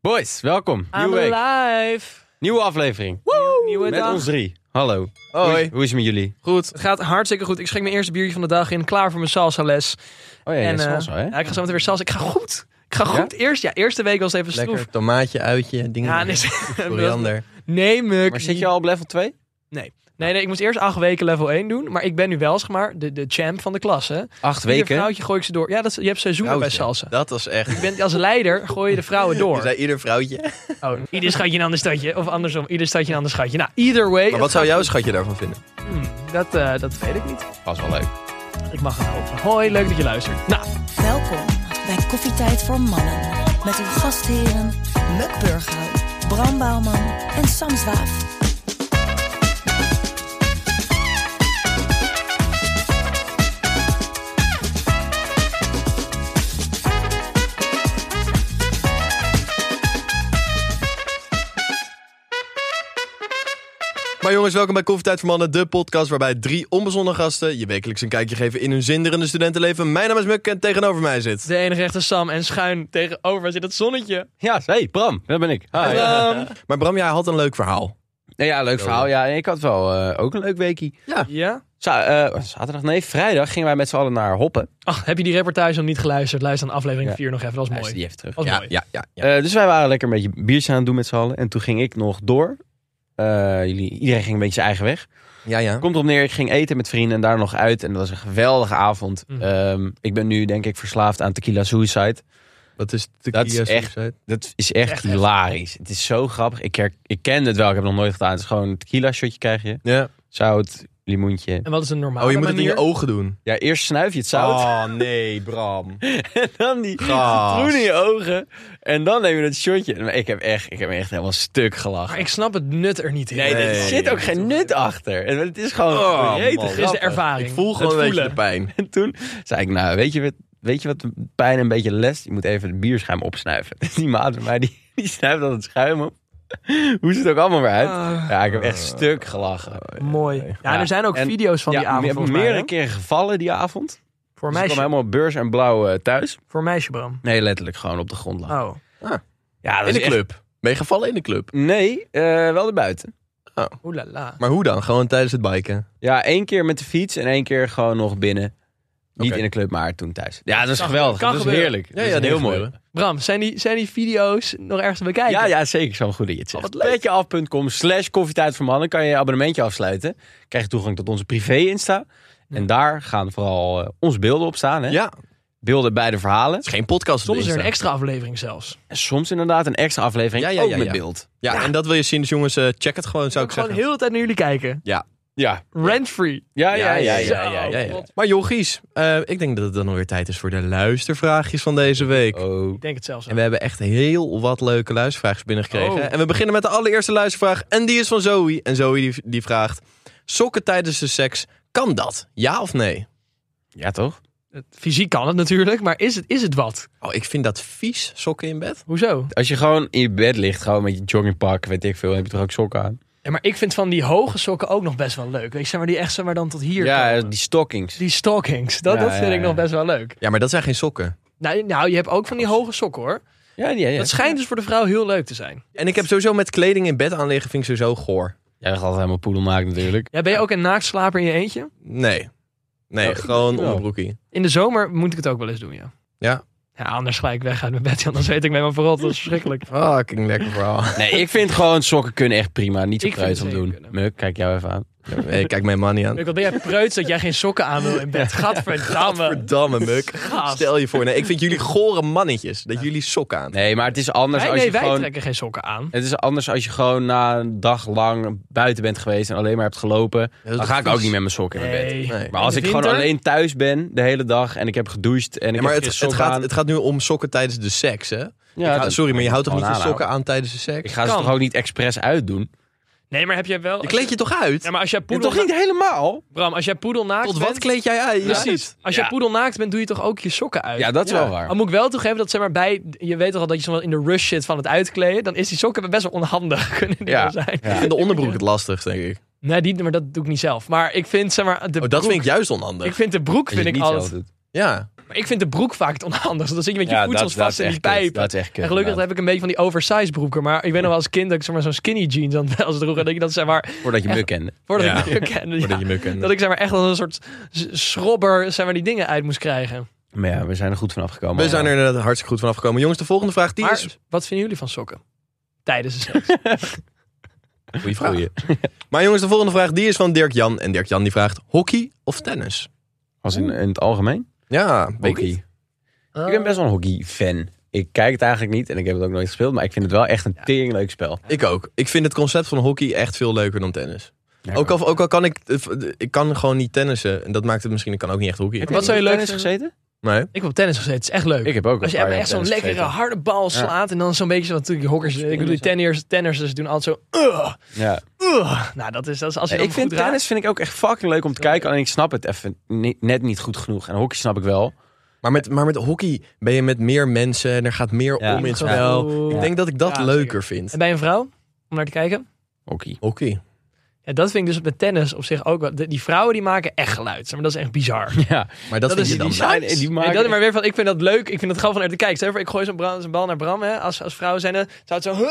Boys, welkom. I'm Nieuwe week. alive. Nieuwe aflevering. Nieuwe Met dag. ons drie. Hallo. Hoi. Hoe is, hoe is het met jullie? Goed, het gaat hartstikke goed. Ik schenk mijn eerste biertje van de dag in. Klaar voor mijn salsa les. Oh ja, en, dat is eh, wel zo, hè? ja, ik ga zo meteen weer salsa. Ik ga goed. Ik ga goed. Eerst, ja, eerste week was even stroef. Lekker tomaatje, uitje, dingen. Ja, erin. nee, Koriander. nee, muk. Maar zit je al op level 2? Nee, nee, ik moest eerst acht weken level 1 doen. Maar ik ben nu wel, zeg maar, de, de champ van de klas, hè. Acht Ieder weken. vrouwtje gooi ik ze door. Ja, dat, is- je hebt seizoenen bij Vrouwtje. salsa. Dat was echt. Je bent als leider, gooi je de vrouwen Je door. zei ieder vrouwtje. Oh, ieder schatje een ander stadje. Of andersom, ieder stadje een ander schatje. Nou, either way. Maar wat zou jouw schatje daarvan vinden? Hmm, dat, eh, dat weet ik niet. Was wel leuk. Ik mag het hopen. Hoi, leuk dat je luistert. Nou, Welkom bij Koffietijd voor Mannen. Met uw gastheren Muk Burghuis, Bram Bouwman en Sam Zwaaf. Maar jongens, welkom bij Koffietijd voor Mannen, de podcast waarbij drie onbezonnen gasten je wekelijks een kijkje geven in hun zinderende studentenleven. Mijn naam is Muk en tegenover mij zit. de enige echte Sam en schuin tegenover mij zit het zonnetje. Ja, hey, Bram. Dat ben ik. Hi. Ehm, Maar Bram, jij had een leuk verhaal. Nee, ja, leuk verhaal. Ja, ik had wel eh, ook een leuk eh, weekje. ja? zaterdag, nee, vrijdag gingen wij met z'n allen naar Hoppen. Ach, heb je die reportage nog niet geluisterd? Luister aan aflevering Ja. 4 nog even, dat was Hij is mooi. die even terug. Dat was ja, mooi. ja, ja, ja. Eh, dus wij waren lekker een beetje biertje aan het doen met z'n allen. En toen ging ik nog door. Eh, jullie, iedereen ging een beetje zijn eigen weg. Ja, ja. Komt erop neer, ik ging eten met vrienden en daar nog uit. En dat was een geweldige avond. Mm. Ehm, ik ben nu denk ik verslaafd aan tequila suicide. Dat is Dat is echt- Dat is echt, Echt, echt. hilarisch. Het is zo grappig. Ik, her- ik ken het wel, ik heb het nog nooit gedaan. Het is gewoon een tequila shotje krijg je. Ja. Zout, limoentje. En wat is een normale Oh, je moet het in manier? je ogen doen. Ja, eerst snuif je het zout. Oh, nee, Oh, Bram. En dan die Gast. citroen in je ogen. En dan neem je dat shotje. Maar Ik heb echt, ik heb echt helemaal stuk gelachen. Maar ik snap het nut er niet in. Nee, er Nee. zit ook geen nut achter. En het is gewoon Oh, rete man. Het is de grappig. ervaring. Ik voel gewoon Het een beetje voelen. de pijn. En toen zei ik, nou, weet je, wat- weet je wat de pijn een beetje les? Je moet even de bierschuim opsnuiven. Dus die maat van mij, die, die snuift dan het schuim op. Hoe ziet het ook allemaal weer uit? Ah, Ja, ik heb echt stuk gelachen. mooi. Ja, en er zijn ook En- video's van die ja, avond ik heb volgens mij, meerdere hè? keren gevallen die avond. Dus Voor ik meisje, kwam helemaal beurs en blauw eh, thuis. voor meisje, Bram. Nee, letterlijk gewoon op de grond lag. Oh. Ja, dat In is de echt- club. Ben je gevallen in de club? Nee, eh, wel erbuiten. Oelala. Maar hoe dan? Gewoon tijdens het biken? Ja, één keer met de fiets en één keer gewoon nog binnen. Niet Oké. in de club, maar toen thuis. Ja, dat is Kan- geweldig. kan dat is gebeuren. heerlijk. dat is heel mooi. Bram, zijn die, zijn die video's nog ergens te bekijken? Ja, ja, zeker. Zo'n goede iets. Wat leuk. Petjeaf.com slash koffietijd voor mannen. Kan je je abonnementje afsluiten. Krijg je toegang tot onze privé-insta. En daar gaan vooral eh, onze beelden op staan. Hè? Ja, het Beelden bij de verhalen. is geen podcast. op Soms is er een Insta. extra aflevering zelfs. En soms inderdaad een extra aflevering Ja, ja, ook ja, met ja. beeld. Ja, en dat wil je zien, dus jongens, eh, check het gewoon, zou Ook ik gewoon zeggen. heel de hele tijd naar jullie kijken. Ja. Rent-free. Ja, ja, ja. ja, Zo, ja, ja, ja, ja. God, Maar jochies, eh, ik denk dat het dan alweer tijd is voor de luistervraagjes van deze week. Oh. Ik denk het zelfs. En we hebben echt heel wat leuke luistervraagjes binnengekregen. Oh. hè. En we beginnen met de allereerste luistervraag. En die is van Zoe. En Zoe die, die vraagt, sokken tijdens de seks, kan dat? Ja of nee? Ja, toch? Het- Fysiek kan het natuurlijk, maar is het, is het wat? Oh, ik vind dat vies, sokken in bed. Hoezo? Als je gewoon in je bed ligt, gewoon met je joggingpak, weet ik veel, dan heb je toch ook sokken aan? Ja, maar ik vind van die hoge sokken ook nog best wel leuk. Weet je, zeg maar die echt zeg maar dan tot hier ja, komen. die stockings. Die stockings, dat, Ja, dat ja, vind ik ja. nog best wel leuk. Ja, maar dat zijn geen sokken. Nou, nou, je hebt ook van die hoge sokken hoor. Ja, ja, ja. Dat schijnt dus voor de vrouw heel leuk te zijn. En ik heb sowieso met kleding in bed aanliggen, vind ik sowieso goor. Jij ligt altijd helemaal poedelmaakt natuurlijk. Ja, ben je ook een naaktslaper in je eentje? Nee. Nee, Oh. Ja, gewoon ja. onderbroekie. In de zomer moet ik het ook wel eens doen, ja. Ja. Ja, anders ga ik weg uit mijn bed, want dan zweet ik mij maar vooral. Dat is verschrikkelijk. Fucking lekker verhaal. Nee, ik vind gewoon sokken kunnen echt prima. Niet zo Ik vind preuts om het zeker doen. kunnen. Muk, kijk jou even aan. Nee, kijk mijn man niet aan. Leuk, wat ben jij preuts dat jij geen sokken aan wil in bed? Gadverdamme. Verdamme muk. Gast. Stel je voor, nee, ik vind jullie gore mannetjes. Dat jullie sokken aan. Nee, maar het is anders Nee, als nee, je wij gewoon... trekken geen sokken aan. Het is anders als je gewoon na een dag lang buiten bent geweest en alleen maar hebt gelopen. is Dan ga ik vies. ook niet met mijn sokken in mijn bed. Nee. Nee. Maar als In ik de gewoon winter? alleen thuis ben de hele dag en ik heb gedoucht en ik Ja, maar heb het, geen het, sokken aan. gaat, het gaat nu om sokken tijdens de seks, hè? Ja, Ik hou- dan- sorry, maar je houdt toch niet je Gewoon sokken aan tijdens de Ik seks? ga ze Kan. toch ook niet expres uitdoen? Nee, maar heb jij wel... Je kleed je toch uit? Ja, maar als jij Ja, poedel... toch niet helemaal? Bram, als jij poedelnaakt Tot wat bent... kleed jij uit? Ja. Precies. Als jij Ja. poedelnaakt bent, doe je toch ook je sokken uit? Ja, dat is Ja. wel waar. Al moet ik wel toegeven dat zeg maar bij... Je weet toch al dat je soms wel in de rush zit van het uitkleden. Dan is die sokken best wel onhandig kunnen die Ja. wel zijn. Ik vind de onderbroek het lastigst, denk ik. Nee, die, maar dat doe ik niet zelf. Maar ik vind zeg maar... De Oh, dat broek- vind ik juist onhandig. Ik vind de broek Als je vind het ik niet zelf altijd... doet. Ja. Maar Ik vind de broek vaak het onhandigste. Dan zit je met je voedsels vast in die echt kut. pijp. Dat is echt kut, En gelukkig inderdaad. heb ik een beetje van die oversized broeken. Maar ik weet nog wel als kind dat ik zeg maar, zo'n skinny jeans aan als droeg. En dat ik dat zeg maar, Voordat je me kende. voordat Ja. ik me kende, Voordat ja, je me kende. dat ik zeg maar echt als een soort s- schrobber zeg maar, die dingen uit moest krijgen. Maar ja, we zijn er goed van afgekomen. We zijn er inderdaad hartstikke goed van afgekomen. Jongens, de volgende vraag die Maar is... wat vinden jullie van sokken? Tijdens de seks. Goeie vraag. Maar jongens, de volgende vraag die is van Dirk Jan. En Dirk Jan die vraagt, hockey of tennis? Als in, in het algemeen? Ja, weet ik Hockey. Ik ben best wel een hockey-fan. Ik kijk het eigenlijk niet en ik heb het ook nooit gespeeld. Maar ik vind het wel echt een teringleuk spel. Ik ook. Ik vind het concept van hockey echt veel leuker dan tennis. Ook al, ook al kan ik, ik kan gewoon niet tennissen. En dat maakt het misschien, ik kan ook niet echt hockey. Heb Wat je zou je op leuk tennis gezeten? Nee. Ik heb op tennis gezeten. Het is echt leuk. Ik heb ook Als je echt zo'n lekkere harde bal slaat en dan zo'n beetje, want natuurlijk die hokkers, ik bedoel, die tenners, tenners dus doen altijd zo, "Ugh, Ja. ugh." nou dat is, dat is als je Ja, dan ik vind goed raakt. tennis vind ik ook echt fucking leuk om te kijken. Alleen ik snap het even ni- net niet goed genoeg. En hockey snap ik wel. Maar met, maar met hockey ben je met meer mensen en er gaat meer Ja. om in het Ja. spel. Ja. Ik denk dat ik dat Ja, leuker vind. En bij een vrouw, om naar te kijken, Hockey. Hockey. ja, dat vind ik dus met tennis op zich ook wel, de- die vrouwen die maken echt geluid, zeg maar dat is echt bizar. Ja. Maar dat, Dat vind is je dan. die Ja, Nice. en die Nee, maken... dat is maar weer van, ik vind dat leuk, ik vind het gewoon van er te kijken. Stel je voor, ik gooi zo'n bra- zo'n bal naar Bram, hè, als, als vrouwen zijn, hè, zou het zo, "Huh,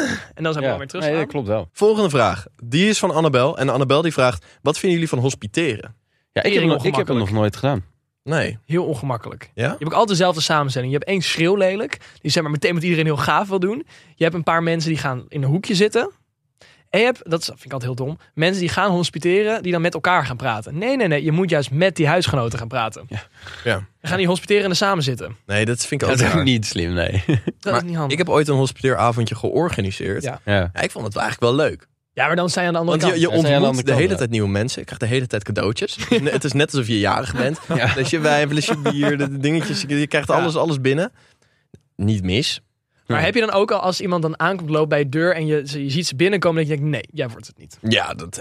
ugh," en dan zou Ja. Bram weer terug Nee, dat klopt wel. Volgende vraag. Die is van Annabel. En Annabel die vraagt, wat vinden jullie van hospiteren? Ja, ik, heb, Tering nog- ik heb hem nog ongemakkelijk. nooit gedaan. Nee. Heel ongemakkelijk. Ja? Je hebt ook altijd dezelfde samenstelling. Je hebt één schreeuwlelijk, die zeg maar meteen met iedereen heel gaaf wil doen. Je hebt een paar mensen die gaan in een hoekje zitten. En je hebt, dat is- vind ik altijd heel dom, mensen die gaan hospiteren, die dan met elkaar gaan praten. Nee, nee, nee, je moet juist met die huisgenoten gaan praten. Ja. Ja. We gaan die hospiterende samen zitten. Nee, dat vind ik Dat is ook ook niet. niet slim, nee. Dat Maar is niet handig. Ik heb ooit een hospiteeravondje georganiseerd. Ja. Ja. Ja. ik vond het wel eigenlijk wel leuk. Ja, maar dan sta je aan de andere Want je, kant. je Ja, zijn aan de ontmoet andere de kant, hele ja. tijd nieuwe mensen. Ik krijg de hele tijd cadeautjes. Ne- het is net alsof je jarig bent. Ja. Flesje wijn, flesje bier, de de dingetjes. Je je krijgt alles, alles binnen. Niet mis. Maar heb je dan ook al, als iemand dan aankomt, loopt bij de deur en je, ze- je ziet ze binnenkomen, dat je denkt, nee, jij wordt het niet. Ja, dat,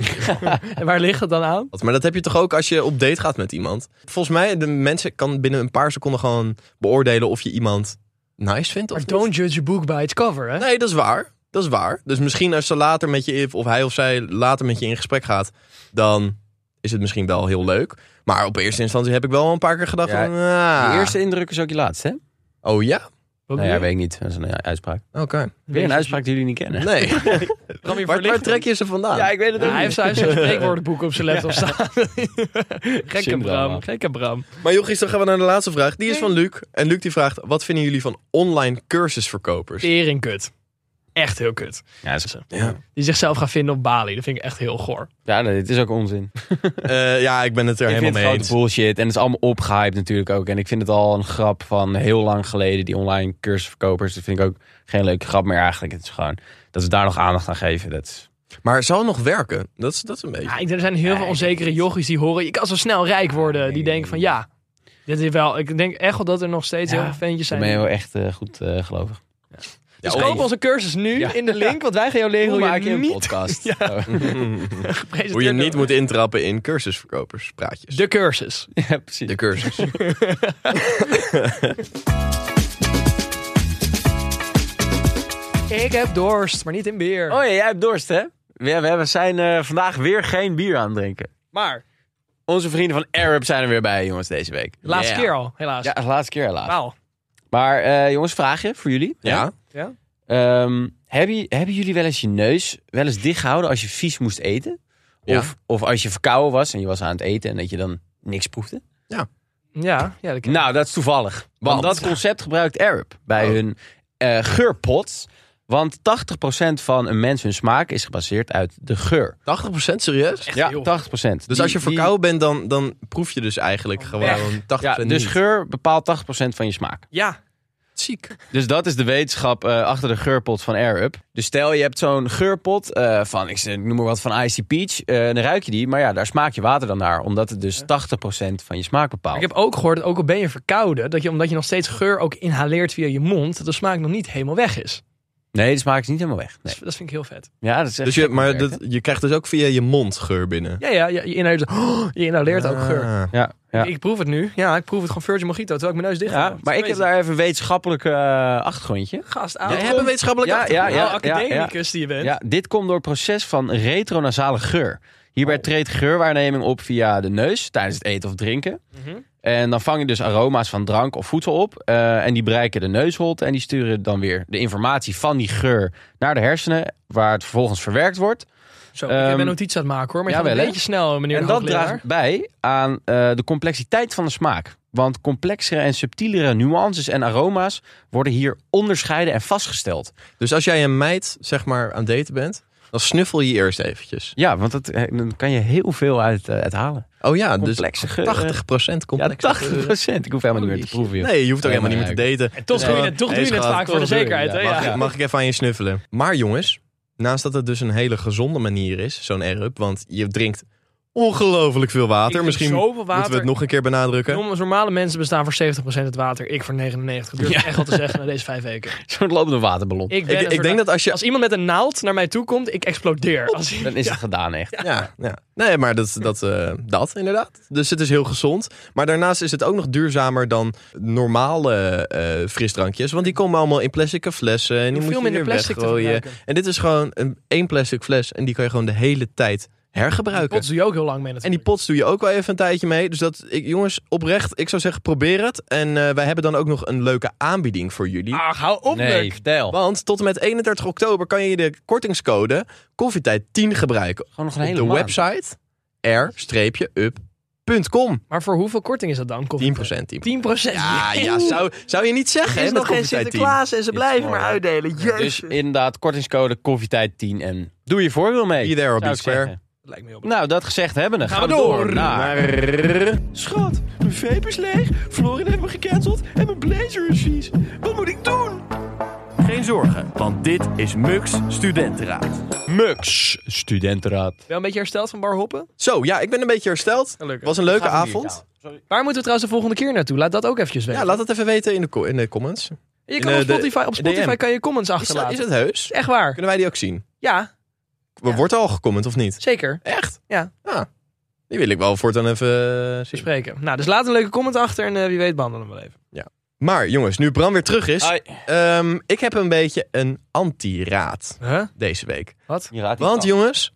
En waar ligt het dan aan? maar dat heb je toch ook als je op date gaat met iemand. Volgens mij, de mensen kan binnen een paar seconden gewoon beoordelen of je iemand nice vindt of Maar niet. don't judge a book by its cover, hè? Nee, dat is waar. Dat is waar. Dus misschien als ze later met je, of hij of zij later met je in gesprek gaat, dan is het misschien wel heel leuk. Maar op eerste instantie heb ik wel een paar keer gedacht Ja, van, ah. Je eerste indruk is ook je laatste, hè? Oh ja? Wat Nou ja, doe weet ik niet. Dat is een ja, uitspraak. Oké. je? Weer een uitspraak die jullie niet kennen. Nee. Bram, je waar, waar verlicht trek je ze vandaan? ik weet het Ja, hij heeft zijn hij heeft zo'n spreekwoordenboek op zijn laptop staan. Gekke Syndroom, Bram, man. gekke Bram. Maar jochies, dan gaan we naar de laatste vraag. Die is van Luc. En Luc die vraagt, wat vinden jullie van online cursusverkopers? Tering kut. Echt heel kut. Ja, dat is- Ja, Die zichzelf gaan vinden op Bali. Dat vind ik echt heel goor. ja nee, dit is ook onzin. Eh, ja ik ben het er Ik vind helemaal het mee grote eens. bullshit. En het is allemaal opgehyped natuurlijk ook. En ik vind het al een grap van heel lang geleden. Die online cursusverkopers. Dat vind ik ook geen leuke grap meer eigenlijk. Het is gewoon dat ze daar nog aandacht aan geven. Dat is- Maar het zal nog werken? Dat is, dat is een beetje... Ja, Ah, ik denk, er zijn heel veel onzekere jochies die horen... je kan zo snel rijk worden. Die denken van ja, dit is wel... Ik denk echt wel dat er nog steeds Ja, heel veel ventjes Dan zijn. ben je wel echt eh, goed eh, gelovig. Dus Ja, koop oei. onze cursus nu Ja. in de link. Want wij gaan jou leren hoe, je niet podcast? Oh. gepresenteerd Hoe je wordt. niet moet intrappen in cursusverkopers, praatjes. De cursus. Ja, precies. De cursus. Ik heb dorst, maar niet in beer. Oh ja, jij hebt dorst hè? We, we hebben- zijn eh, vandaag weer geen bier aan het drinken. Maar, Onze vrienden van Arab zijn er weer bij jongens deze week. de laatste Ja. keer al, helaas. Ja, de laatste keer helaas. Wauw. Maar eh, jongens, vraagje voor jullie. Ja? Ehm, hebben, j- hebben jullie wel eens je neus wel eens dicht gehouden als je vies moest eten? Ja. Of, of als je verkouden was en je was aan het eten en dat je dan niks proefde? Ja, ja, dat ken ik. Nou, dat is toevallig. Want, Want? dat concept gebruikt Arab bij Oh. hun eh geurpot. Want 80% van een mens hun smaak is gebaseerd uit de geur. 80% serieus? Echt ja, heel 80%. Dus Die- als je die- verkouden bent, dan, dan proef je dus eigenlijk gewoon 80% Ja, dus niet. geur bepaalt 80% van je smaak. Ja, Ziek. Dus dat is de wetenschap eh, achter de geurpot van AirUp. Dus stel je hebt zo'n geurpot eh, van, ik zeg- noem maar wat, van Icy Peach. eh, dan ruik je die, maar ja, daar smaak je water dan naar. Omdat het dus 80% van je smaak bepaalt. Maar ik heb ook gehoord dat ook al ben je verkouden, dat je omdat je nog steeds geur ook inhaleert via je mond, dat de smaak nog niet helemaal weg is. Nee, de smaak is niet helemaal weg. Nee. Dus dat vind ik heel vet. Ja, dat is echt Dus je, gek maar werk, hè? dat, je krijgt dus ook via je mond geur binnen. Ja, ja, ja je inhaleert, oh, je inhaleert ook geur. Ah. Ja, ja. Ik proef het nu. Ja, ik proef het gewoon Virgin Mojito, terwijl ik mijn neus dicht Ja, hou. maar ik heb Crazy. daar even een wetenschappelijk eh, achtergrondje. Gast, Jij ouwe. hebt een wetenschappelijk Ja, achtergrond. ja, Nou, ja. academicus die je bent. Ja, dit komt door het proces van retronasale geur. Hierbij treedt geurwaarneming op via de neus tijdens het eten of drinken. Mhm. Eh, En dan vang je dus aroma's van drank of voedsel op. eh, en die bereiken de neusholte. En die sturen dan weer de informatie van die geur naar de hersenen. Waar het vervolgens verwerkt wordt. Zo, ik Ehm, ben notities aan het maken hoor, maar je gaat jawel, een hè? beetje snel, meneer En de dat hoogleraar. draagt bij aan eh, de complexiteit van de smaak. Want complexere en subtielere nuances en aroma's worden hier onderscheiden en vastgesteld. Dus als jij een meid, zeg maar, aan het daten bent, dan snuffel je eerst eventjes. Ja, want dat, eh, dan kan je heel veel uit, eh, uit halen. Oh ja, dus 80% Complexe geuren. Ja, complex. 80 procent. Ik hoef helemaal niet meer te proeven. joh. Nee, je hoeft ook helemaal niet meer te Toch daten. Dus doe je gewoon, het, toch hey, doe je het schat, vaak voor de toch doe je, zekerheid. hè? ja, Ja, Mag, ik, mag ik even aan je snuffelen? Maar jongens, naast dat het dus een hele gezonde manier is, zo'n erup, want je drinkt ongelooflijk veel Ik water. drink Misschien zoveel moeten we water. het nog een keer benadrukken. Jongens, normale mensen bestaan voor 70% het water. Ik voor 99%. Dat durf ik echt al te zeggen na deze vijf weken. Zo'n lopende waterballon. Ik, ben Ik, een ik soort- denk dat als je... Als iemand met een naald naar mij toe komt, ik explodeer. Als Dan is het gedaan echt. Ja, ja. Nee, maar dat, dat, eh, dat inderdaad. Dus het is heel gezond. Maar daarnaast is het ook nog duurzamer dan normale eh, frisdrankjes. Want die komen allemaal in plastic flessen. En die moet veel je minder weer plastic te weggooien. gebruiken. En dit is gewoon een, één plastic fles. En die kan je gewoon de hele tijd hergebruiken. Pots doe je ook heel lang mee En die natuurlijk. pots doe je ook wel even een tijdje mee. Dus dat, ik, jongens, oprecht, ik zou zeggen, probeer het. En eh, wij hebben dan ook nog een leuke aanbieding voor jullie. Ach, hou op, Nee, Leuk. vertel. Want tot en met 31 oktober kan je de kortingscode koffietijd10 gebruiken. Gewoon nog een Op hele de maand. website r-up.com. 10%. Maar voor hoeveel korting is dat dan? Koffie? 10%. 10 procent. Ja, Ah, ja zou, zou je niet zeggen, hè, met koffietijd 10. en ze blijven maar uitdelen. Dus inderdaad, kortingscode koffietijd 10 en doe je voordeel mee. Be there or zou be ik square. zeggen. Lijkt me heel Nou, dat gezegd hebben, dan Gaan gaan, we door. naar- Schat, mijn vape is leeg, Florin heeft me gecanceld en mijn blazer is vies. Wat moet ik doen? Geen zorgen, want dit is Mux Studentenraad. MUX, studentenraad. Wel een beetje hersteld van barhoppen? Zo, ja, ik ben een beetje hersteld. Gelukkig. Was een leuke Gaat een biertje avond. Waar moeten we trouwens de volgende keer naartoe? Laat dat ook eventjes weten. Ja, laat het even weten in de, co- in de comments. je kan op in, eh, de- Spotify, op Spotify DM. kan je comments Is achterlaten. dat, is dat heus? Echt waar. Kunnen wij die ook zien? Ja, Wordt er al gecomment of niet? zeker. Echt? Ja. Ah, die wil ik wel voortaan even eh, zien. Bespreken. Nou, dus laat een leuke comment achter en eh, wie weet behandelen we hem wel even. Maar jongens, nu Bram weer terug is, Ai, ehm, ik heb een beetje een anti-raad Huh? deze week. Wat? je raadt niet Want af. jongens,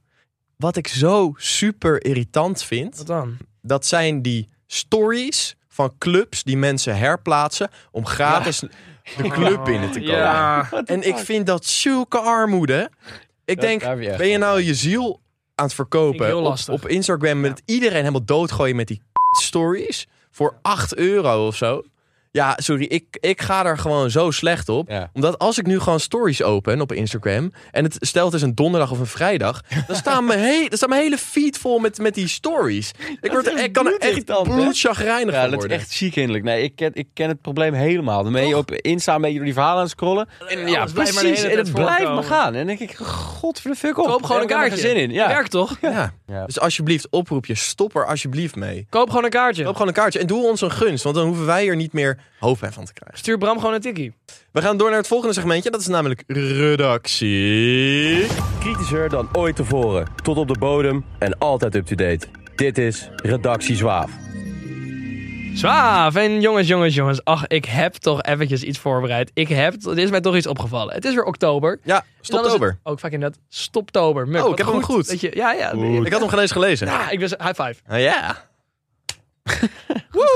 wat ik zo super irritant vind, Wat dan? dat zijn die stories van clubs die mensen herplaatsen om gratis de club binnen te komen. Ja. En ik vind dat zulke armoede. Ik Ja, denk, daar heb je echt ben je nou je ziel aan het Vind ik heel verkopen op, lastig. op Instagram met iedereen helemaal doodgooien met die stories voor 8 euro of zo? Ja, sorry, ik, ik ga daar gewoon zo slecht op. Ja. Omdat als ik nu gewoon stories open op Instagram... en het stelt is een donderdag of een vrijdag... dan staan mijn, he dan staat mijn hele feed vol met, met die stories. Ik, word, echt er- ik kan er echt bloedirritant, hè? bloedchagrijnig Ja, van dat is worden. echt ziek hinderlijk. Nee, ik ken, ik ken het probleem helemaal. Dan ben je op Insta een beetje door die verhalen aan het scrollen. En ja, alles blijft maar de precies. hele En het tijd blijft voorkomen. maar gaan. En dan denk ik, god voor de fuck op. Koop gewoon een Daar heb ik kaartje. helemaal geen zin in. Ja. Werkt toch? Ja. Ja. Dus alsjeblieft, oproep je, stop er alsjeblieft mee. Koop gewoon een kaartje. Koop gewoon een kaartje en doe ons een gunst, want dan hoeven wij er niet meer hoofdpijn van te krijgen. Stuur Bram gewoon een tikkie. We gaan door naar het volgende segmentje, dat is namelijk redactie. Kritischer dan ooit tevoren, tot op de bodem en altijd up-to-date. Dit is Redactie Zwaaf. Zwaaf. En jongens, jongens, jongens. Ach, ik heb toch eventjes iets voorbereid. Ik heb... Er is mij toch iets opgevallen. Het is dus weer oktober. Ja, oktober. stoptober. Ook vaak inderdaad stoptober. Muk, Oh, ik wat heb hem goed. Dat je, ja, ja. Ik had hem geen eens gelezen. Ah, ik was high five. Ah, ja.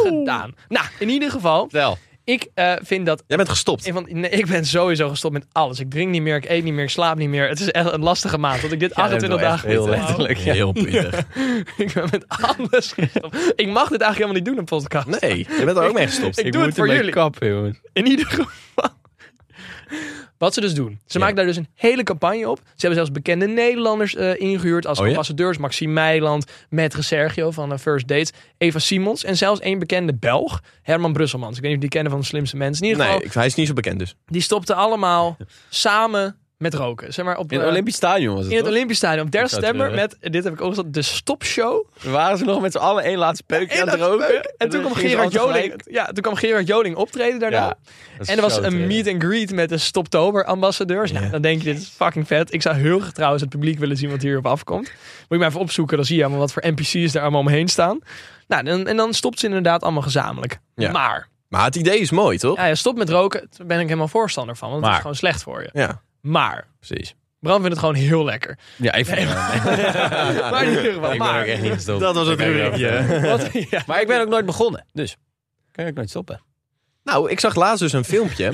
Gedaan. Nou, in ieder geval. Vertel. Ik eh, vind dat Jij bent gestopt. Een van- nee, ik ben sowieso gestopt met alles. Ik drink niet meer, ik eet niet meer, ik slaap niet meer. Het is echt een lastige maand. Want ik dit 28 wel echt dagen heel moet volhouden. letterlijk. Ja. Heel pittig. Ik ben met alles gestopt. Ik mag dit eigenlijk helemaal niet doen, een podcast. Nee, je bent er ook mee gestopt. Ik doe het voor ermee jullie. kappen, jongen. In ieder geval. Wat ze dus doen. Ze maken daar dus een hele campagne op. Ze hebben zelfs bekende Nederlanders eh, ingehuurd als Oh ja? ambassadeurs. Maxime Meiland, Metre Sergio van eh, First Dates, Eva Simons. En zelfs één bekende Belg, Herman Brusselmans. Ik weet niet of die kennen van de slimste mensen. In ieder Nee, geval, ik, hij is niet zo bekend dus. die stopten allemaal samen met roken. Zeg maar op, In het eh, Olympisch Stadion was het, In het toch? Olympisch Stadion, op 30 zou september, het eh, met, dit heb ik ook gezegd, de stopshow. Waren ze nog met z'n allen één laatste peukje aan het roken? En toen kwam gingen ze Gerard allemaal Joling, tegelijk. ja, toen kwam Gerard Joling optreden daarna. Ja, dat is en er was zo een treurig. meet and greet met de Stoptober-ambassadeurs. Nou, dan denk je, dit is fucking vet. Ik zou heel graag trouwens het publiek willen zien wat hierop afkomt. Moet je maar even opzoeken, dan zie je allemaal wat voor NPC's daar allemaal omheen staan. Nou, en, en dan stopt ze inderdaad allemaal gezamenlijk. Ja. Maar, Maar het idee is mooi, toch? ja, ja, stop met roken, daar ben ik helemaal voorstander van, want het Maar. is gewoon slecht voor je. Ja. Maar, Precies. Bram vindt het gewoon heel lekker. Ja, ik vind Maar in ieder geval, Ik ben maar- ook echt niet gestopt. Dat was het Ik ben ook- rubriekje. Wat? Ja. Maar ik ben ook nooit begonnen, dus kan je ook nooit stoppen. Nou, ik zag laatst dus een filmpje.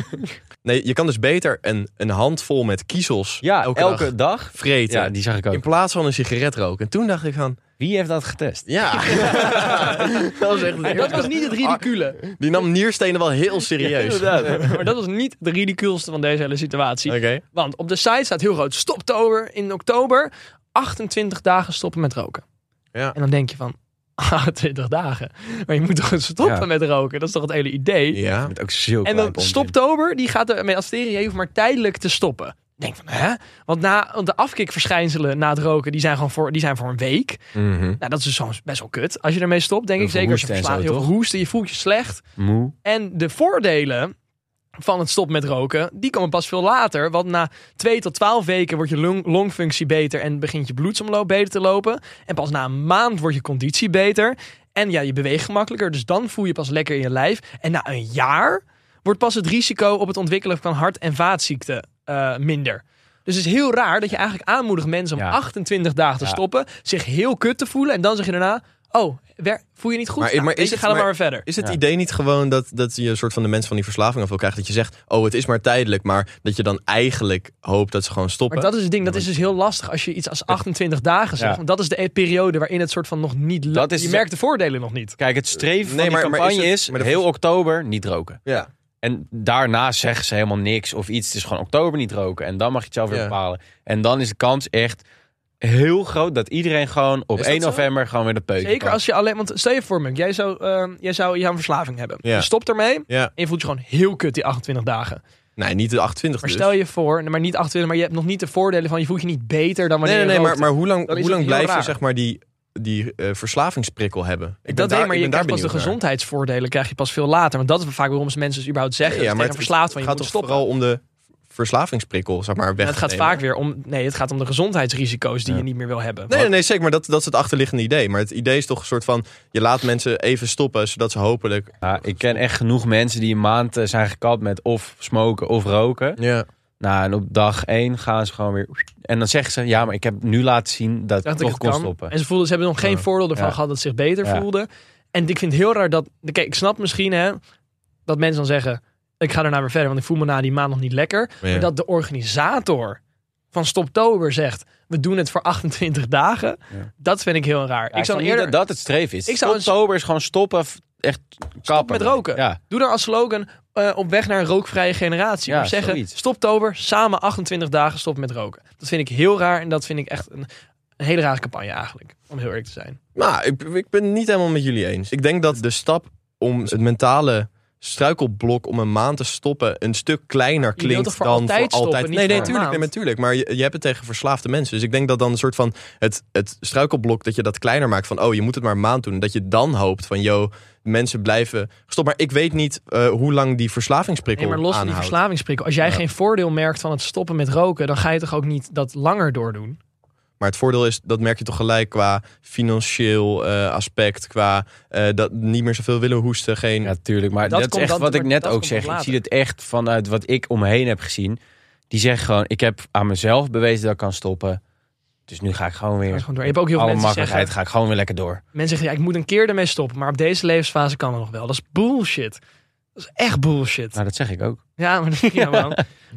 Nee, je kan dus beter een, een handvol met kiezels Ja, elke, elke, dag dag. vreten. Ja, die zag ik in ook. plaats van een sigaret roken. En toen dacht ik van, Wie heeft dat getest? ja. dat was echt Dat was Ah, niet het ridicule. Die nam nierstenen wel heel serieus. Maar dat was niet de ridiculste van deze hele situatie. Oké. Want op de site staat heel groot: stoptober in oktober. 28 dagen stoppen met roken. Ja. En dan denk je van. 28 dagen. Maar je moet toch stoppen Ja. met roken? Dat is toch het hele idee? Ja. Met ook zulke En klein dan pompje. stoptober, die gaat ermee asteren. Je hoeft maar tijdelijk te stoppen. Ik Denk van, hè? Want, na, want de afkikverschijnselen na het roken, die zijn gewoon voor, die zijn voor een week. Mhm. Nou, dat is dus gewoon best wel kut. Als je ermee stopt, denk Heel ik veel zeker als je hoesten en verslaat, zo, heel veel hoesten, je voelt je slecht. Moe. En de voordelen van het stop met roken, die komen pas veel later. Want na 2 tot 12 weken wordt je long- longfunctie beter en begint je bloedsomloop beter te lopen. En pas na een maand wordt je conditie beter. En ja, je beweegt gemakkelijker, dus dan voel je pas lekker in je lijf. En na een jaar wordt pas het risico op het ontwikkelen van hart- en vaatziekten eh, minder. Dus het is heel raar dat je eigenlijk aanmoedigt mensen om Ja. 28 dagen te Ja. stoppen, zich heel kut te voelen en dan zeg je daarna, oh, wer- voel je niet goed? Nou, Maar- maar weet is je, het- ga dan maar maar- weer verder. Is het Ja. idee niet gewoon dat, dat je een soort van de mensen van die verslaving af wil krijgen? Dat je zegt, oh, het is maar tijdelijk. Maar dat je dan eigenlijk hoopt dat ze gewoon stoppen. Maar dat is het ding, dat is dus heel lastig als je iets als 28 dagen zegt. Ja. Want dat is de e- periode waarin het soort van nog niet... lu- Dat is- je merkt de voordelen nog niet. Kijk, het streven Nee, van maar- die maar campagne is het- is, maar de- heel oktober niet roken. Ja. En daarna zeggen ze helemaal niks of iets. Het is gewoon oktober niet roken. En dan mag je het zelf weer Ja. bepalen. En dan is de kans echt heel groot dat iedereen gewoon op Is dat 1 zo? november gewoon weer de peuken Zeker kan. als je alleen... Want stel je voor, Munk, jij zou, ehm, jij zou jouw verslaving hebben. Ja. Je stopt ermee en ja. je voelt je gewoon heel kut die 28 dagen. Nee, niet de 28 Maar dus. stel je voor, maar niet 28, maar je hebt nog niet de voordelen van... Je voelt je niet beter dan wanneer Nee, nee, nee je maar, rookt. maar hoe lang, Dan is hoe lang het heel blijf je raar. zeg maar die, die eh, verslavingsprikkel hebben? Ik dat ben daar- denk maar ik je ben daar krijgt pas de benieuwd naar. gezondheidsvoordelen krijg je pas veel later. Want dat is vaak waarom ze mensen dus überhaupt zeggen. Ja, Ja, maar het verslaafd van je gaat moet toch stoppen. vooral om de verslavingsprikkel, zeg maar, weg En het te gaat nemen. vaak weer om... Nee, het gaat om de gezondheidsrisico's die je niet meer wil hebben. Nee, nee, nee, zeker, maar dat, dat is het achterliggende idee. Maar het idee is toch een soort van, je laat mensen even stoppen, zodat ze hopelijk... Ja, Nou, ik ken echt genoeg mensen die een maand eh, zijn gekapt met of smoken of roken. Ja. Nou, en op dag 1 gaan ze gewoon weer... En dan zeggen ze, ja, maar ik heb nu laten zien dat ik dat ik toch het kon kan. stoppen. En ze, voelden, ze hebben nog geen Ja. voordeel ervan Ja. gehad dat ze zich beter Ja. voelden. En ik vind het heel raar dat... Kijk, ik snap misschien hè, dat mensen dan zeggen... Ik ga daarna weer verder, want ik voel me na die maand nog niet lekker. Ja. Maar dat de organisator van Stoptober zegt... We doen het voor 28 dagen. Ja. Dat vind ik heel raar. Ja, ik zou snap niet eerder... dat dat het streven is. Ik zou- Oktober is gewoon stoppen, f- echt kappen. met roken. Ja, Doe daar als slogan... eh, op weg naar een rookvrije generatie. Ja, maar zeggen, zoiets. stoptober, samen 28 dagen stop met roken. Dat vind ik heel raar en dat vind ik echt een, een hele rare campagne eigenlijk. Om heel eerlijk te zijn. Nou, ik, ik ben het niet helemaal met jullie eens. Ik denk dat de stap om het mentale struikelblok om een maand te stoppen een stuk kleiner wilt klinkt toch voor dan altijd voor stoppen, altijd. niet nee, nee, voor een tuurlijk, nee, maand? natuurlijk. Maar je, je hebt het tegen verslaafde mensen. Dus ik denk dat dan een soort van het, het struikelblok dat je dat kleiner maakt van oh, je moet het maar een maand doen. Dat je dan hoopt van yo, mensen blijven gestopt. Maar ik weet niet eh, hoe lang die verslavingsprikkel Nee, maar los van die aanhoudt. verslavingsprikkel. Als jij geen voordeel merkt van het stoppen met roken, dan ga je toch ook niet dat langer doordoen? Maar het voordeel is, dat merk je toch gelijk qua financieel eh, aspect, qua eh, dat niet meer zoveel willen hoesten, geen ja tuurlijk. Maar Dat dat, is komt echt dan- wat ik maar net dat ook komt zeg. dan Ik zie later. het echt vanuit wat ik omheen heb gezien. Die zeggen gewoon, ik heb aan mezelf bewezen dat ik kan stoppen. Dus nu ga ik gewoon Ga je weer... gewoon door. Je hebt ook heel veel Alle mensen die makkelijkheid zeggen, ga ik gewoon weer lekker door. mensen zeggen ja, ik moet een keer ermee stoppen, maar op deze levensfase kan het nog wel. Dat is bullshit. Dat is echt bullshit. Nou, dat zeg ik ook. Ja, maar, ja, man.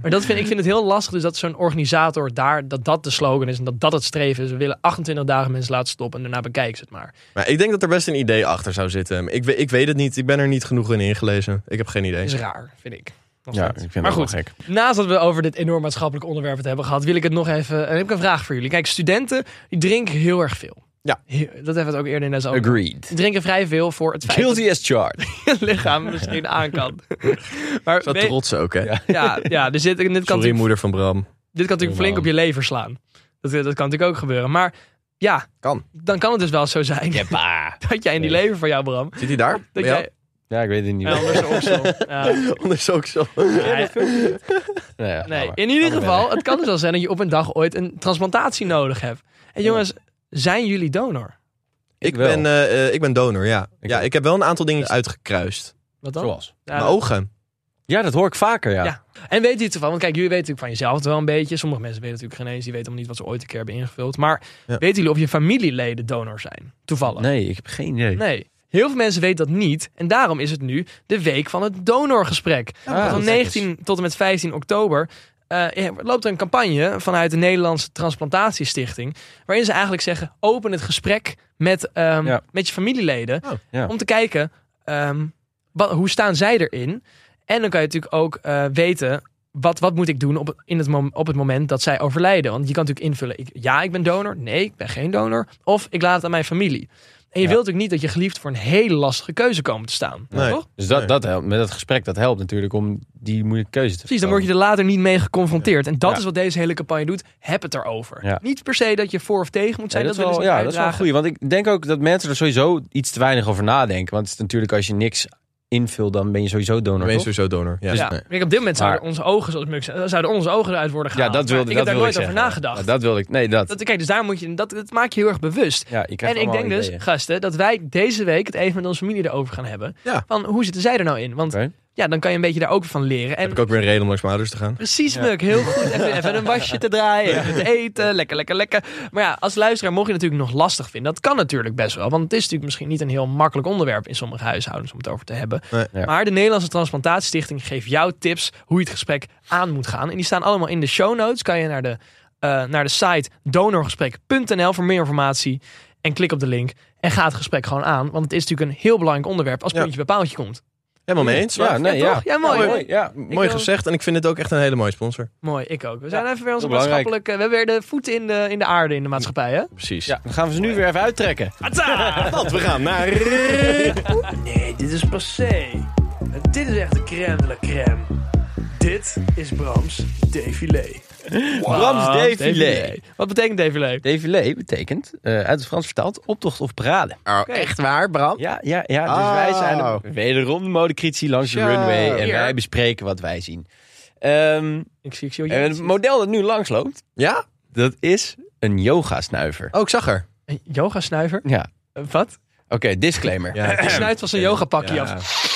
maar dat vind, ik vind het heel lastig. Dus dat zo'n organisator daar, dat dat de slogan is en dat dat het streven is. We willen 28 dagen mensen laten stoppen en daarna bekijken ze het maar. Maar ik denk dat er best een idee achter zou zitten. Ik, we- ik weet het niet. Ik ben er niet genoeg in ingelezen. Ik heb geen idee. is raar, vind ik. Nog Ja, ik steeds. vind dat maar wel goed, gek. Naast dat we over dit enorm maatschappelijk onderwerp het hebben gehad, wil ik het nog even. En heb ik een vraag voor jullie. Kijk, studenten die drinken heel erg veel. Ja. Heel- dat hebben we het ook eerder in deze aflevering. Agreed. Die drinken vrij veel voor het feit Guilty as charged. dat het lichaam misschien aan kan. maar Zo weet- trots ook, hè? ja, ja, dus dit, dit kan Sorry, natuurlijk, moeder van Bram. dit kan natuurlijk flink op je lever slaan. Dat, dat kan natuurlijk ook gebeuren. Maar ja, Kan. dan kan het dus wel zo zijn Jeppa. dat jij in die Nee. lever van jou, Bram, Zit hij daar? dat Bij jou? jij Ja, ik weet het niet. eh, anders de oksel. Ja. Anders ook zo. Ja, Nee, ja, Nee, maar. in ieder Gaan we geval, het kan dus wel zijn dat je op een dag ooit een transplantatie nodig hebt. En jongens, zijn jullie donor? Ik wel. ben, eh, eh, ik ben donor, ja. Ik ja, ook. ik heb wel een aantal dingen uitgekruist. Wat dan? Zoals. Ja, Mijn ogen. Ja, dat hoor ik vaker, ja. Ja. En weet je het ervan? Want kijk, jullie weten natuurlijk van jezelf het wel een beetje. Sommige mensen weten natuurlijk geen eens. Die weten om niet wat ze ooit een keer hebben ingevuld. Maar Ja. weten jullie of je familieleden donor zijn? Toevallig. Nee, ik heb geen idee. Nee. Heel veel mensen weten dat niet. En daarom is het nu de week van het donorgesprek. Ah, van dat 19 tot en met 15 oktober eh, ja, loopt er een campagne vanuit de Nederlandse Transplantatiestichting. Waarin ze eigenlijk zeggen: open het gesprek met, ehm, Ja. met je familieleden. Oh, ja. Om te kijken ehm, wat, hoe staan zij erin. En dan kan je natuurlijk ook eh, weten. Wat, wat moet ik doen op, het- in het mom- op het moment dat zij overlijden? Want je kan natuurlijk invullen: ik, ja, ik ben donor. Nee, ik ben geen donor. Of ik laat het aan mijn familie. En je Ja. wilt natuurlijk niet dat je geliefd voor een hele lastige keuze komen te staan. Nee. Toch? Dus dat, Nee. dat helpt, met dat gesprek, dat helpt natuurlijk om die moeilijke keuze te Precies, dan word je er later niet mee geconfronteerd. En dat Ja. is wat deze hele campagne doet. Heb het erover. Ja. Niet per se dat je voor of tegen moet zijn. Nee, dat, willen wel, ze niet ja, dat is wel een uitdragen. goeie. Want ik denk ook dat mensen er sowieso iets te weinig over nadenken. Want het is natuurlijk als je niks invult, dan ben je sowieso donor, Dan ben je toch? sowieso donor. Ja. Ja. Nee. Kijk, op dit moment zouden Maar- onze ogen, zoals Muk zei, zouden onze ogen eruit worden Ja, gehaald. dat wilde, Maar Ah, ik dat heb daar wilde nooit ik over zeggen. nagedacht. Dat wilde ik, nee, dat. Dat- kijk, dus daar moet je, dat, dat maak je heel erg bewust. ja, je krijgt En ik denk allemaal dus, ideeën. gasten, dat wij deze week het even met onze familie erover gaan hebben. Ja. Van hoe zitten zij er nou in? Want Oké. ja, dan kan je een beetje daar ook van leren. En Heb ik ook weer een reden om langs mijn ouders te gaan. Precies, Muk. Heel goed. Even, even een wasje te draaien, even te eten. Lekker, lekker, lekker. Maar ja, als luisteraar mocht je het natuurlijk nog lastig vinden. Dat kan natuurlijk best wel. Want het is natuurlijk misschien niet een heel makkelijk onderwerp in sommige huishoudens om het over te hebben. Nee. Ja. Maar de Nederlandse Transplantatiestichting geeft jou tips hoe je het gesprek aan moet gaan. En die staan allemaal in de show notes. Kan je naar de, eh, naar de site donorgesprek.nl voor meer informatie. En klik op de link en ga het gesprek gewoon aan. Want het is natuurlijk een heel belangrijk onderwerp als Ja. puntje bij paaltje komt. Helemaal mee eens. Ja, Ja, nee, ja. toch? Ja, mooi, mooi. Ja, Mooi wil- gezegd. En ik vind het ook echt een hele mooie sponsor. Mooi, ik ook. We zijn even weer onze heel belangrijk. maatschappelijke... We hebben weer de voeten in de, in de aarde in de maatschappij, hè? Precies. ja, dan gaan we ze nu weer even uittrekken. Want Dus we gaan naar... Nee, dit is passé. Dit is echt de crème de la crème. Dit is Brams défilé. Brams défilé. Wat betekent défilé? Défilé betekent, eh, uit het Frans vertaald, optocht of parade. Echt waar, Bram? Ja, ja, ja. Dus Oh. wij zijn wederom de modecritici langs de Zo. runway. En Hier. wij bespreken wat wij zien. Ehm, Ik zie, oh, ik zie wat en jij het ziet. model dat nu langsloopt, Ja? dat is een yoga-snuiver. Oh, ik zag haar. Een yoga-snuiver? Ja, Eh, Wat? oké, disclaimer. Ja, Hij snuit van zijn yogapakje Ja. af.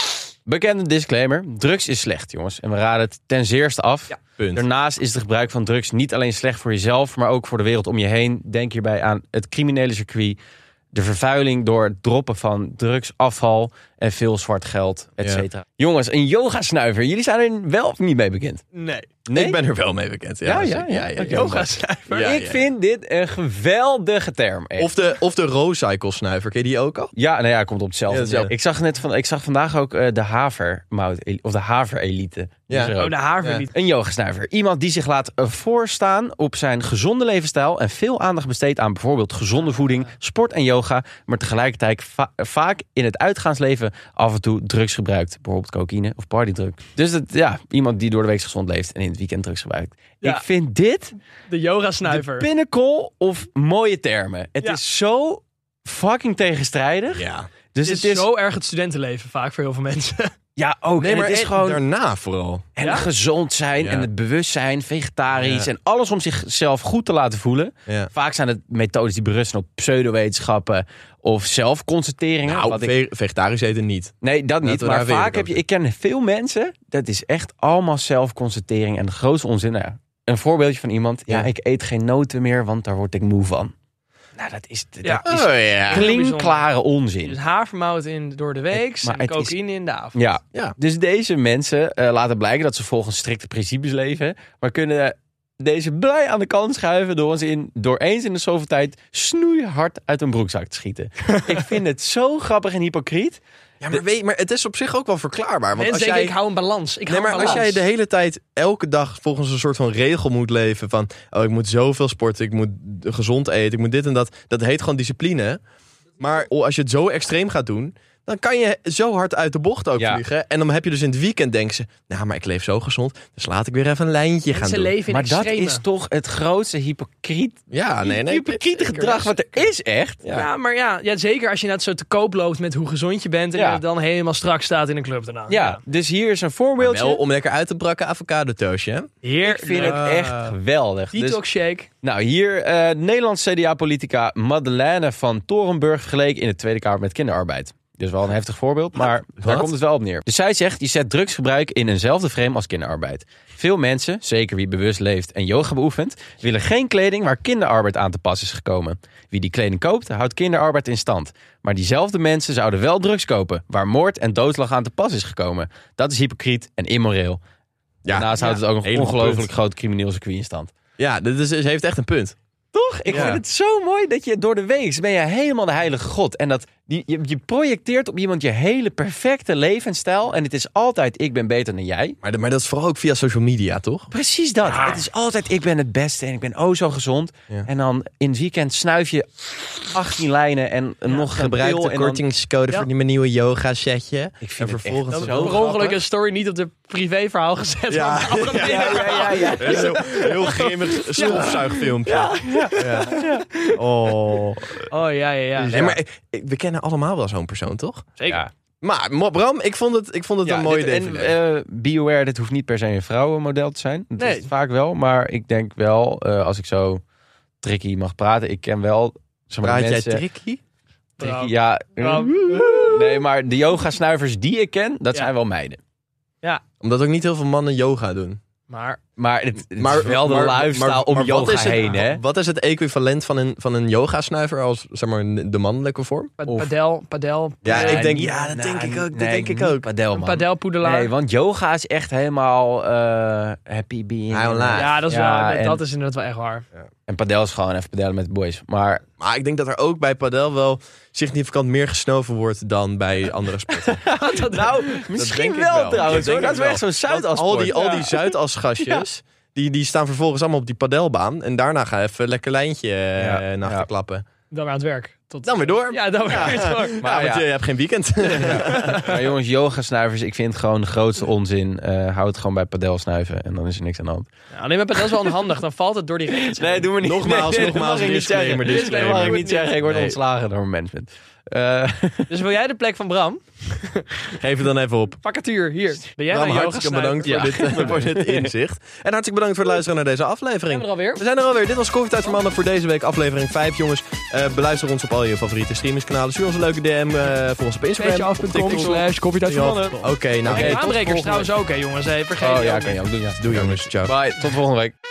Bekende disclaimer. Drugs is slecht, jongens. En we raden het ten zeerste af. Ja. Punt. Daarnaast is het gebruik van drugs niet alleen slecht voor jezelf, maar ook voor de wereld om je heen. Denk hierbij aan het criminele circuit, de vervuiling door het droppen van drugsafval en veel zwart geld, et Ja. cetera. Jongens, een yoga-snuiver. Jullie zijn er wel of niet mee bekend? Nee. Nee? Ik ben er wel mee bekend. Ja, Ja, ja, zeker. ja. ja, Yoga-snuiver? Ja, ik ja. vind dit een geweldige term. echt. Of de, of de Rocycle snuiver, ken je die ook al? Ja, nou ja, komt op hetzelfde. Ja, hetzelfde. Ik zag net van, ik zag vandaag ook eh, de havermout of de haverelite. Die Ja. is er ook. Oh, de haar weer Ja. niet. Een yogasnuiver. Iemand die zich laat eh, voorstaan op zijn gezonde levensstijl en veel aandacht besteedt aan bijvoorbeeld gezonde voeding, sport en yoga, maar tegelijkertijd va- vaak in het uitgaansleven af en toe drugs gebruikt. Bijvoorbeeld cocaïne of partydrug. Dus dat, ja, iemand die door de week gezond leeft en in het weekend drugs gebruikt. Ja. Ik vind dit De de yoga-snuiver. pinnacle of mooie termen. Het Ja. is zo fucking tegenstrijdig. Ja. Dus Het is, zo erg het studentenleven vaak voor heel veel mensen. Ja, ook. Nee, en maar het is gewoon daarna vooral. en Ja? gezond zijn Ja. en het bewustzijn, vegetarisch Ja. en alles om zichzelf goed te laten voelen. Ja. Vaak zijn het methodes die berusten op pseudowetenschappen of zelfconstateringen. Nou, Wat ik- ve- vegetarisch eten niet. nee, dat niet. daar maar weet ik vaak heb ook. je, ik ken veel mensen, dat is echt allemaal zelfconstatering en de grootste onzin. Nou ja, een voorbeeldje van iemand, ja. Ja. ik eet geen noten meer, want daar word ik moe van. Nou, dat is, dat Ja. is ja. klinkklare onzin. Dus havermout in door de week maar en het is- cocaïne in de avond. Ja. Ja. Dus deze mensen eh, laten blijken dat ze volgens strikte principes leven, maar kunnen deze blij aan de kant schuiven door ons in, door eens in de zoveel tijd snoeihard uit een broekzak te schieten. ik vind het zo grappig en hypocriet. Ja, maar, weet, maar het is op zich ook wel verklaarbaar. Want Mensen als denken, jij, ik hou een balans. Ik nee, hou maar een als jij balans. de hele tijd elke dag volgens een soort van regel moet leven van oh, ik moet zoveel sporten, ik moet gezond eten, ik moet dit en dat. Dat heet gewoon discipline. Maar oh, als je het zo extreem gaat doen, dan kan je zo hard uit de bocht ook Ja. vliegen. En dan heb je dus in het weekend denken ze, nou, maar ik leef zo gezond, dus laat ik weer even een lijntje gaan Mensen doen. leven in maar dat extreme. is toch het grootste hypocriet, Ja, Ah, nee, nee. hypocriete zeker. gedrag wat er is echt. Ja. maar ja, ja, zeker als je net zo te koop loopt met hoe gezond je bent en Ja. je dan helemaal strak staat in een club daarna. Ja, dus hier is een Maar voorbeeldje. Wel om lekker uit te brakken avocado toastje, hè? Heer, ik vind het echt geweldig. Dus- Detox shake. Nou, hier eh Nederlands CDA-politica Madeleine van Torenburg vergeleken in de Tweede Kamer met kinderarbeid. Dat is wel een heftig voorbeeld, maar daar Wat? komt het wel op neer. Dus zij zegt, je zet drugsgebruik in eenzelfde frame als kinderarbeid. Veel mensen, zeker wie bewust leeft en yoga beoefent, willen geen kleding waar kinderarbeid aan te pas is gekomen. Wie die kleding koopt, houdt kinderarbeid in stand. Maar diezelfde mensen zouden wel drugs kopen, waar moord en doodslag aan te pas is gekomen. Dat is hypocriet en immoreel. Ja, Daarnaast houdt het ook een helemaal ongelooflijk punt. groot crimineel circuit in stand. Ja, dit is, ze heeft echt een punt. Toch? Ik Ja. vind het zo mooi dat je door de weeks ben je helemaal de heilige God. En dat die, je, je projecteert op iemand je hele perfecte levensstijl. En het is altijd ik ben beter dan jij. Maar, de- maar dat is vooral ook via social media, toch? Precies dat. Het is altijd ik ben het beste en ik ben oh zo gezond. Ja. En dan in het weekend snuif je 18 lijnen en nog gebruik Gebruik de kortingscode Ja. voor mijn nieuwe yoga setje. Ik vind En het vervolgens echt Dat zo per ongeluk een story niet op de privéverhaal gezet. Oh, Ja. maar op een andere Ja, ja, ja, ja. Heel, heel grimmig stofzuigfilmpje. Oh. Oh ja, ja, ja. Nee, maar ik- ik- we kennen allemaal wel zo'n persoon, toch? Zeker. Ja. Maar Mo- Bram, ik vond het, ik vond het Ja, een mooi dit- DVD. En eh BioWare, dit hoeft niet per se een vrouwenmodel te zijn. Dat Nee. is het vaak wel. Maar ik denk wel, eh, als ik zo tricky mag praten, ik ken wel... Zeg maar, Praat jij mensen- tricky? Tricky, Bram. ja. hm? Bram. Nee, maar de yoga-snuivers die ik ken, dat Ja. zijn wel meiden. Omdat ook niet heel veel mannen yoga doen. Maar Maar het, het is wel de maar- lifestyle maar- om maar wat yoga is het- heen, hè? Wat is het equivalent van een, van een yoga-snuiver als zeg maar, de mannelijke vorm? pa- Of- padel, padel, Ja, Nee, ik denk, niet- ja, dat nou, denk ik ook. Dat nee, denk ik niet ook. Padel, een man. padelpoedelaar. Nee, want yoga is echt helemaal eh, happy being. High on life. ja, dat is, Ja, wel, en- dat is inderdaad wel echt waar. En padel is gewoon even padellen met de boys. Maar Maar ik denk dat er ook bij padel wel significant meer gesnoven wordt dan bij andere sporten. Nou, denk misschien ik wel, wel. Dat trouwens. denk hoor. Dat ik is wel wel. echt zo'n zuid Want al die, al die Zuidas-gastjes, die, die staan vervolgens allemaal op die padelbaan. En daarna gaan even lekker lijntje eh, Ja. naar Ja. klappen. Dan weer aan het werk. Tot, Dan weer door. Ja, dan weer aan het werk. Maar Nou want ja. je hebt geen weekend. Maar jongens, yoga-snuivers, ik vind het gewoon de grootste onzin. Eh hou het gewoon bij padel snuiven en dan is er niks aan de hand. Ja, alleen maar padel is wel onhandig. Dan valt het door die regels. Nee, doen we niet. Nogmaals, Nee, nee, nogmaals, dat mag ik niet disclaimer, zeggen. disclaimer. Dit mag ik niet zeggen. Ik word Nee. ontslagen door mijn management. Eh, Dus wil jij de plek van Bram? Geef het dan even op. Vacatuur, hier. Ben jij Bram, nou hartstikke bedankt Ja. voor, dit, eh, voor dit inzicht. En hartstikke bedankt voor het luisteren naar deze Zijn we er aflevering. alweer? We zijn er alweer. Dit was Koffietijd voor Mannen voor deze week, aflevering 5. Jongens, eh, beluister ons op al je favoriete streamingskanalen. Stuur ons een leuke DM. eh volg ons op Instagram. op Beetje.com TikTok. slash koffietijd Ja. van mannen. Oké, nou. En hey, aanbrekers tot volgende trouwens ook, hè jongens. Hey, vergeet oh die ja, ook kan niet. je ook doen. Ja. Doei jongens, ciao. Bye, tot volgende week.